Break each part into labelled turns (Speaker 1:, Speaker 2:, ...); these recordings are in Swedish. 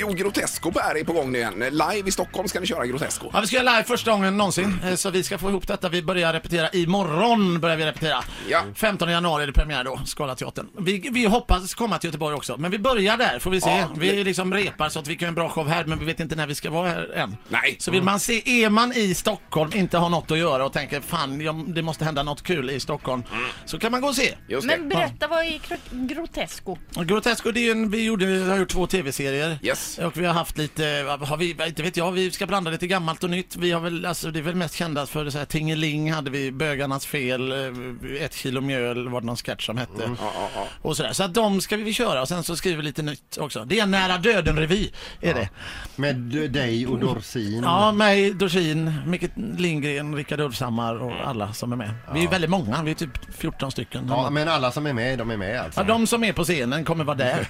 Speaker 1: Jo, Grotesco på här är på gång nu igen. Live i Stockholm ska ni köra Grotesco.
Speaker 2: Ja, vi ska göra live första gången någonsin, eh, så vi ska få ihop detta. Vi börjar repetera imorgon. Börjar vi repetera.
Speaker 1: Ja.
Speaker 2: 15 januari är det premiär då, Scalateatern. Vi, vi hoppas komma till Göteborg också, men vi börjar där får vi se.
Speaker 1: Ja.
Speaker 2: Vi liksom repar så att vi kan göra en bra show här, men vi vet inte när vi ska vara här än.
Speaker 1: Nej.
Speaker 2: Så vill man se, är man i Stockholm, inte har något att göra och tänker fan, jag, det måste hända något kul i Stockholm,
Speaker 1: Mm.
Speaker 2: så kan man gå och se.
Speaker 1: Just det.
Speaker 3: Men berätta, vad är gro- Grotesco?
Speaker 2: Grotesco, det är ju en, vi, gjorde, vi har gjort två tv-serier.
Speaker 1: Yes.
Speaker 2: Och vi har haft lite, vad har vi, inte vet jag, vi ska blanda lite gammalt och nytt. Vi har väl, alltså det är väl mest kända för så här, Tingeling hade vi, Bögarnas fel, eh, Ett kilo mjöl var det någon sketch som hette.
Speaker 4: Mm.
Speaker 2: Och sådär. Så att de ska vi köra och sen så skriver vi lite nytt också. Det är en nära döden-revy, är det.
Speaker 4: Med d- dig och Dorsin.
Speaker 2: Mm. Ja, mig, Dorsin, Micke Lindgren, Rickard Ulfshammar
Speaker 4: Mm.
Speaker 2: och alla som är med. Vi är väldigt många, vi är typ 14 stycken.
Speaker 4: Ja, men alla som är med, de är med alltså.
Speaker 2: Ja, de som är på scenen kommer vara där,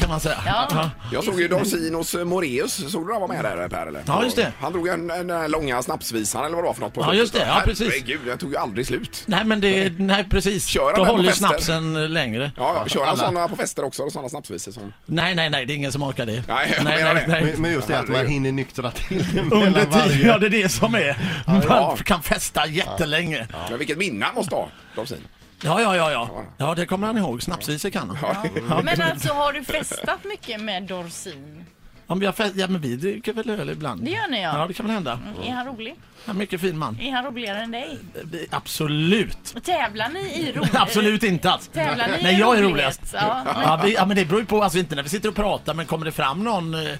Speaker 2: kan man säga.
Speaker 3: Ja.
Speaker 1: Jag såg ju Dorsinos Moreus. Såg du han var med där eh, Per? Eller?
Speaker 2: Ja, just det.
Speaker 1: Han drog en, en, eh, långa snapsvisan eller vad det var för något på
Speaker 2: Ja,
Speaker 1: slutet.
Speaker 2: just det. Ja, precis.
Speaker 1: Herregud, den tog ju aldrig slut.
Speaker 2: Nej men det, nej precis.
Speaker 1: Kör han
Speaker 2: Då
Speaker 1: den på
Speaker 2: håller ju
Speaker 1: festen?
Speaker 2: snapsen längre.
Speaker 1: Ja, ja, kör han
Speaker 4: Alla.
Speaker 1: sådana på fester också? Sådana snapsvisor som...
Speaker 2: Nej, nej, nej, det är ingen som orkar det.
Speaker 1: Nej, jag menar det.
Speaker 4: Men- Men just det att man hinner nyktra till det
Speaker 2: Under
Speaker 4: mellan
Speaker 2: tiden, ja
Speaker 4: varje...
Speaker 2: det är det som är.
Speaker 1: ja.
Speaker 2: Man kan festa jättelänge.
Speaker 1: Men vilket minne han måste ha, Dorsin.
Speaker 2: Ja, ja, ja, ja. Ja, det kommer han ihåg. Snapsvisor kan han. Ja.
Speaker 3: Men alltså har du festat mycket med Dorsin?
Speaker 2: Om vi har fest, ja, men vi dricker väl öl ibland.
Speaker 3: Det gör ni, ja.
Speaker 2: Ja, det kan väl hända.
Speaker 3: Är han rolig?
Speaker 2: Ja, mycket fin man. Eh,
Speaker 3: Är han roligare än dig?
Speaker 2: Absolut.
Speaker 3: Tävlar ni i rolighet?
Speaker 2: Absolut inte alls.
Speaker 3: Tävlar ni i
Speaker 2: Nej, jag är
Speaker 3: rolighet?
Speaker 2: roligast.
Speaker 3: Ja.
Speaker 2: Ja, vi, ja, men det beror ju på, alltså inte när vi sitter och pratar, men kommer det fram någon, eh,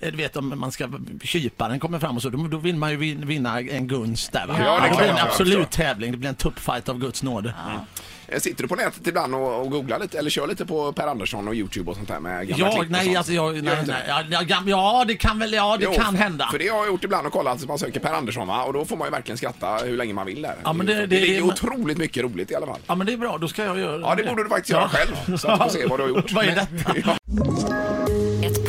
Speaker 2: du vet om man ska, kyparen kommer fram och så, då, då vill man ju vin- vinna en gunst där va?
Speaker 1: Ja, det är
Speaker 2: det blir en
Speaker 1: klart, ja,
Speaker 2: absolut
Speaker 1: klart.
Speaker 2: tävling, det blir en tuppfight av Guds nåde.
Speaker 1: Eh, Sitter du på nätet ibland och, och googlar lite eller kör lite på Per Andersson och Youtube och sånt där med gamla klipp
Speaker 2: Ja,
Speaker 1: och
Speaker 2: nej,
Speaker 1: sånt?
Speaker 2: alltså jag,
Speaker 1: Gör du
Speaker 2: nej,
Speaker 1: inte
Speaker 2: nej,
Speaker 1: det?
Speaker 2: ja, ja, gam- ja, det kan väl, ja, det
Speaker 1: Jo,
Speaker 2: kan hända.
Speaker 1: För det har jag gjort ibland och kollat, så man söker Per Andersson va? och då får man ju verkligen skratta hur länge man vill där.
Speaker 2: Ja, men det-
Speaker 1: det,
Speaker 2: det-
Speaker 1: ligger
Speaker 2: det-
Speaker 1: otroligt mycket roligt i alla fall.
Speaker 2: Ja, men det är bra, då ska jag göra
Speaker 1: Ja, det borde du faktiskt göra själv, så att du får se vad du har gjort.
Speaker 2: Vad är detta?
Speaker 5: Ett